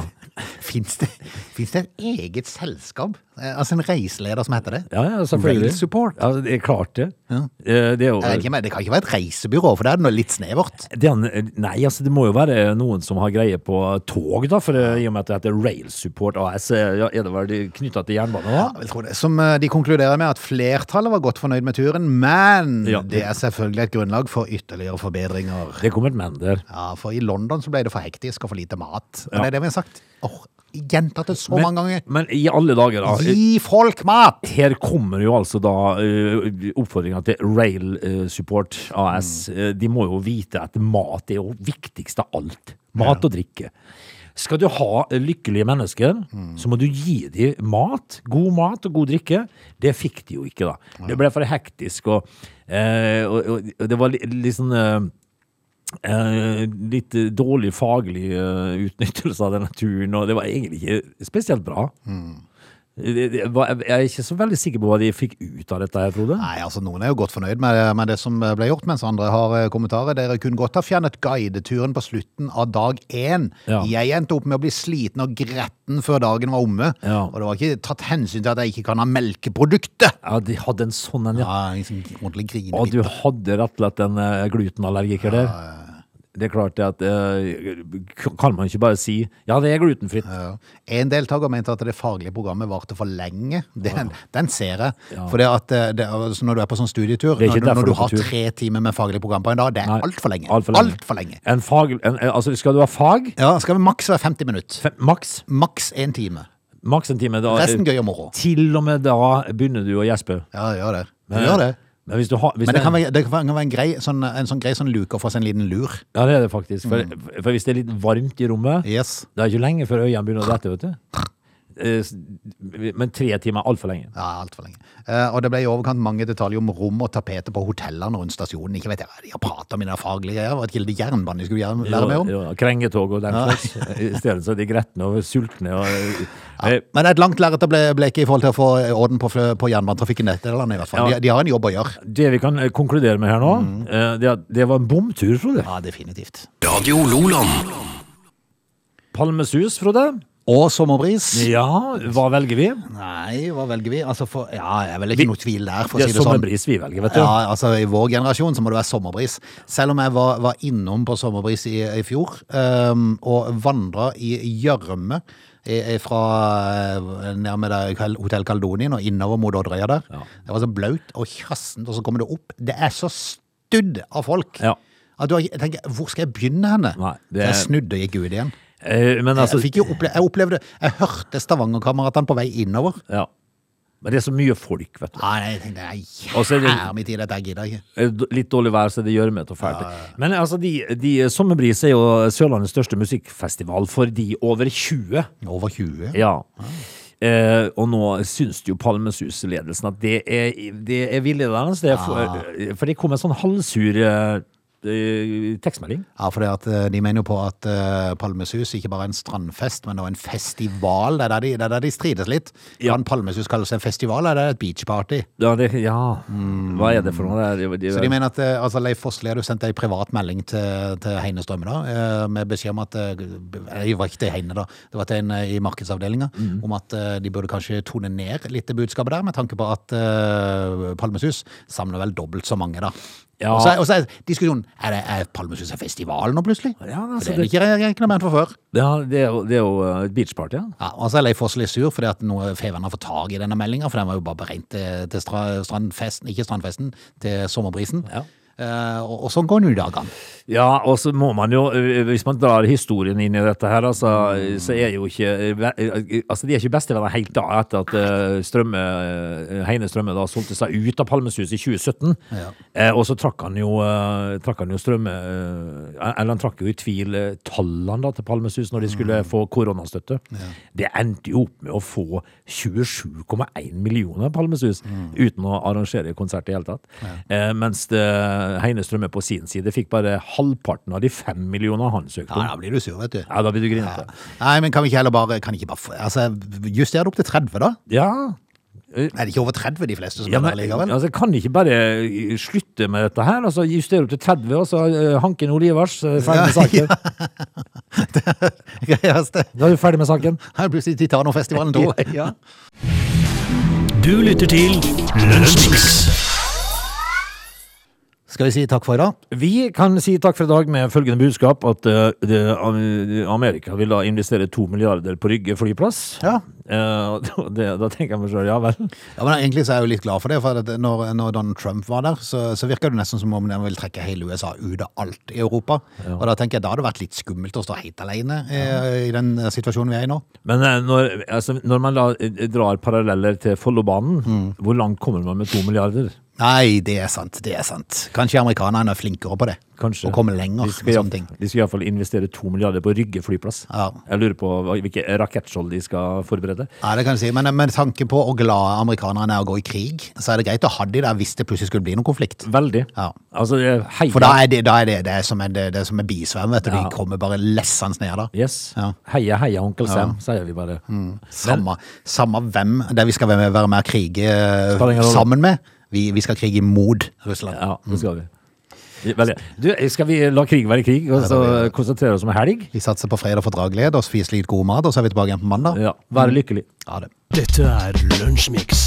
Speaker 1: Fins det, finnes det et eget selskap? Eh, Altså en reiseleder som heter det?
Speaker 3: Ja, ja,
Speaker 1: Rail
Speaker 3: selvfølgelig.
Speaker 1: Support?
Speaker 3: Ja, det er klart det. Eh, Det er
Speaker 1: Jeg vet
Speaker 3: jo
Speaker 1: ikke, men Det kan ikke være et reisebyrå, for det er det noe litt snevert.
Speaker 3: det er, en- nei, altså det må jo være noen som har greie på tog, da, for eh, i og med at det heter Rail Support AS, eh, ja, er det vel knytta til jernbane?
Speaker 1: Ja,
Speaker 3: da?
Speaker 1: jeg vil tro det. Som eh, de konkluderer med at flertallet var godt fornøyd med turen, men
Speaker 3: Ja.
Speaker 1: det er selvfølgelig et grunnlag for ytterligere forbedringer.
Speaker 3: Det kommer et men der.
Speaker 1: Ja, For i London så ble det for hektisk og for lite mat. Og det er det vi har sagt. Åh, Gjentatt det så mange ganger.
Speaker 3: men i alle dager, da.
Speaker 1: Gi folk mat!
Speaker 3: Her kommer jo altså da uh, oppfordringa til Rail eh, Support AS. Eh, de må jo vite at mat er jo viktigst av alt. Mat og drikke. Skal du ha eh, lykkelige mennesker, så må du gi dem mat. God mat og god drikke. Det fikk de jo ikke, da. Det ble for hektisk, og, eh, og, og, og det var li- litt sånn eh, Eh, litt eh, dårlig faglig eh, utnyttelse av denne turen, og det var egentlig ikke spesielt bra.
Speaker 1: Mm.
Speaker 3: Det- det var- Jeg er ikke så veldig sikker på hva de fikk ut av dette her, Frode.
Speaker 1: Nei, altså Noen er jo godt fornøyd med, med det som ble gjort, mens andre har eh, kommentarer. Dere kunne godt ha fjernet guideturen på slutten av dag én.
Speaker 3: Ja.
Speaker 1: Jeg endte opp med å bli sliten og gretten før dagen var omme.
Speaker 3: Ja.
Speaker 1: Og det var ikke tatt hensyn til at jeg ikke kan ha melkeprodukter.
Speaker 3: Ja, de hadde en sånn en, ja.
Speaker 1: Ja, en sånn ordentlig grine.
Speaker 3: Og du hadde rett og slett en eh, glutenallergiker der. Det er klart det at eh, Kan man ikke bare si 'ja, det er glutenfritt'?
Speaker 1: Ja. En deltaker mente at det faglige programmet varte for lenge. Den, den ser jeg. For det at eh, det, er- altså når du er på sånn studietur,
Speaker 3: Det er
Speaker 1: når, du-
Speaker 3: ikke derfor
Speaker 1: når
Speaker 3: du
Speaker 1: du
Speaker 3: er på
Speaker 1: har
Speaker 3: tur.
Speaker 1: tre timer med faglig program på en dag, det
Speaker 3: Nei,
Speaker 1: er altfor lenge.
Speaker 3: alt for lenge.
Speaker 1: Alt for lenge.
Speaker 3: En fag, en, eh, altså, skal du ha fag?
Speaker 1: Ja, skal vi maks være 50 minutter.
Speaker 3: Fem, maks?
Speaker 1: Maks én time.
Speaker 3: Maks en time. Da,
Speaker 1: Resten gøy og moro.
Speaker 3: Til og med da begynner du å gjespe.
Speaker 1: Ja, gjør det. Gjør det.
Speaker 3: Men hvis du har hvis
Speaker 1: Men det
Speaker 3: er-
Speaker 1: kan være, det kan være en grei sånn, en sånn, grei sånn luke å få seg en liten lur.
Speaker 3: Ja, det er det faktisk. For,
Speaker 1: Mm.
Speaker 3: for hvis det er litt varmt i rommet
Speaker 1: Yes.
Speaker 3: Det er ikke lenge før øynene begynner å dette, vet du. Eh, s- Men tre timer er altfor lenge.
Speaker 1: Ja, altfor lenge. Eh, og det ble i overkant mange detaljer om rom og tapeter på hotellene rundt stasjonen. Ikke vet jeg, hva De har prata om i den faglige greia. Var det ikke det jernbane de skulle gjerne lære mer om?
Speaker 3: Ja, ja, Krengetog og den slags. eh, I stedet så er de gretne og sultne og eh,
Speaker 1: Men et langt lerret å ble- bleke i forhold til å få orden på, flø- på jernbanetrafikken i dette landet, i hvert fall.
Speaker 3: Ja.
Speaker 1: De, de har en jobb å gjøre.
Speaker 3: Det vi kan eh, konkludere med her nå,
Speaker 1: Mm.
Speaker 3: eh, det, er at det var en bomtur, Frode.
Speaker 1: Ja, definitivt.
Speaker 2: Radio Loland.
Speaker 3: Palmesus, Frode.
Speaker 1: Og sommerbris?
Speaker 3: Ja, hva velger vi?
Speaker 1: Nei, hva velger vi? Altså, for, ja, jeg er vel ikke noe tvil der, for å si
Speaker 3: Det er
Speaker 1: det sånn.
Speaker 3: sommerbris vi velger, vet du.
Speaker 1: Ja, altså I vår generasjon så må det være sommerbris. Selv om jeg var, var innom på sommerbris i, i fjor, ehm, og vandra i gjørme i- i fra eh, nærme der Kal- Hotell Kaldonien og innover mot Odderøya der.
Speaker 3: Ja.
Speaker 1: Det var så blaut og kjassent, og så kommer det opp. Det er så studd av folk.
Speaker 3: Ja.
Speaker 1: At du har- jeg tenker, Hvor skal jeg begynne henne?
Speaker 3: Nei, det
Speaker 1: Så
Speaker 3: er-
Speaker 1: Jeg snudde og gikk ut igjen.
Speaker 3: Eh, Men altså
Speaker 1: Jeg, fikk jo opple jeg opplevde Jeg hørte Stavangerkameratene på vei innover.
Speaker 3: ja. Men det er så mye folk, vet du.
Speaker 1: Nei, jeg tenkte, nei,
Speaker 3: Og så er det-
Speaker 1: her midt i dette, jeg gidder ikke.
Speaker 3: Eh, d- Litt dårlig vær, så det gjør meg til fælt. Men altså, de, de, Sommerbris er jo Sørlandets største musikkfestival for de over 20.
Speaker 1: Over 20.
Speaker 3: Ja. Eh, og nå syns jo Palmesus-ledelsen at det er, det er villedende. Det er for, for det kom en sånn halvsur eh, eh, tekstmelding.
Speaker 1: Ja, for det at eh, de mener jo på at eh, Palmesus ikke bare er en strandfest, men også en festival. Det er der de, det er der de strides litt.
Speaker 3: Ja.
Speaker 1: Kan Palmesus kalles en festival, eller er det et beachparty?
Speaker 3: Ja, det, ja. hva er det for noe? Det er,
Speaker 1: Så de mener at eh, altså Leif Fossli hadde jo sendt ei privat melding til, til Heine Strømme da, eh, med beskjed om at eh, Det var ikke til Heine, da. Det var til en eh, i markedsavdelinga.
Speaker 3: Mhm.
Speaker 1: Om at eh, de burde kanskje tone ned litt det budskapet der, med tanke på at eh, Palmesus samler vel dobbelt så mange, da.
Speaker 3: Ja.
Speaker 1: Og så er- Og så er diskusjonen er, det, er Palmesus en festival nå, plutselig?
Speaker 3: Ja, altså,
Speaker 1: for det er
Speaker 3: det-
Speaker 1: det ikke regna med for før.
Speaker 3: ja, det, er, jo- det er jo et beachparty, ja.
Speaker 1: Ja, og så er Leif Foss litt sur fordi at noe Feven har fått tag i denne meldinga, for den var jo bare beregnet til, til stra, strandfesten, ikke strandfesten, til sommerbrisen.
Speaker 3: Ja.
Speaker 1: Eh, og, og sånn går nå dagene.
Speaker 3: Ja, og så må man jo, eh, hvis man drar historien inn i dette her, altså, så er jo ikke eh, ve- eh, Altså, de er ikke bestevenner helt da, etter at eh, Strømme, eh, Heine Strømme da solgte seg ut av Palmesus i 2017. Eh, og så trakk han jo, eh, trakk han jo Strømme eh, Eller han trakk jo i tvil eh, tallene da til Palmesus når de skulle få koronastøtte. Det endte jo opp med å få 27,1 millioner Palmesus uten å arrangere konsert i hele tatt. Eh, mens det, Heine Strømme på sin side fikk bare halvparten av de fem millioner han søkte
Speaker 1: Ja,
Speaker 3: om.
Speaker 1: da blir du sur, vet du.
Speaker 3: Ja, da blir du grinete.
Speaker 1: Nei, men kan vi ikke heller bare, kan ikke bare få- altså, Juster det opp til 30, da?
Speaker 3: Ja.
Speaker 1: Er det ikke over 30 de fleste som
Speaker 3: Ja,
Speaker 1: er
Speaker 3: men,
Speaker 1: der likevel?
Speaker 3: altså, kan de ikke bare eh, slutte med dette her? Altså, Justere opp til 30, og så eh, hanken Olivers. eh, Ferdig med saken.
Speaker 1: Greieste.
Speaker 3: Da er du ferdig med saken.
Speaker 1: Her er plutselig Titanofestivalen 2.
Speaker 3: Ja.
Speaker 2: Du lytter til Lunsjmix.
Speaker 1: Skal vi si takk for i dag?
Speaker 3: Vi kan si takk for i dag med følgende budskap at eh, det, Am- Amerika vil da investere to milliarder på Rygge flyplass.
Speaker 1: Ja.
Speaker 3: Eh, og det, da tenker jeg meg sjøl, ja vel.
Speaker 1: Ja, men Egentlig så er jeg jo litt glad for det. For at når, når Donald Trump var der, så, så virka det nesten som om han vil trekke hele USA ut av alt i Europa. Og da tenker jeg da hadde det vært litt skummelt å stå helt alene eh, i den eh, situasjonen vi er i nå.
Speaker 3: Men eh, når, altså, når man da eh, drar paralleller til Follobanen,
Speaker 1: Mm.
Speaker 3: hvor langt kommer man med to milliarder?
Speaker 1: Nei, det er sant. det er sant. Kanskje amerikanerne er flinkere på det.
Speaker 3: Kanskje.
Speaker 1: Og kommer lenger
Speaker 3: De
Speaker 1: med
Speaker 3: skal, i-
Speaker 1: sånne ting.
Speaker 3: de skal iallfall investere to milliarder på Rygge flyplass.
Speaker 1: Ja.
Speaker 3: Jeg lurer på hva- hvilke rakettskjold de skal forberede.
Speaker 1: Ja, det kan du si. Men med tanke på hvor glade amerikanerne er å gå i krig, så er det greit å ha de der hvis det plutselig skulle bli noen konflikt.
Speaker 3: Veldig.
Speaker 1: Ja.
Speaker 3: Altså, jeg heier,
Speaker 1: For da er det da er det, det som er, det, det som er bisvøm, vet du.
Speaker 3: Ja.
Speaker 1: De kommer bare lessende ned da.
Speaker 3: yes.
Speaker 1: Ja. Mm.
Speaker 3: heia, heia, onkel Sam, sier vi bare.
Speaker 1: Samme, samme hvem det er vi skal være med, være med og krige eh,
Speaker 3: Spiller ingen rolle.
Speaker 1: sammen med. Vi, vi skal krige mot Russland.
Speaker 3: Ja, det skal vi. Veldig. Du, skal vi la krig være krig, og så konsentrere oss om helg?
Speaker 1: Vi satser på fredag fordragelighet og spiser litt god mat, og så er vi tilbake igjen på mandag.
Speaker 3: Ja, Være lykkelig.
Speaker 1: Ha det.
Speaker 2: Dette er Lunsjmix.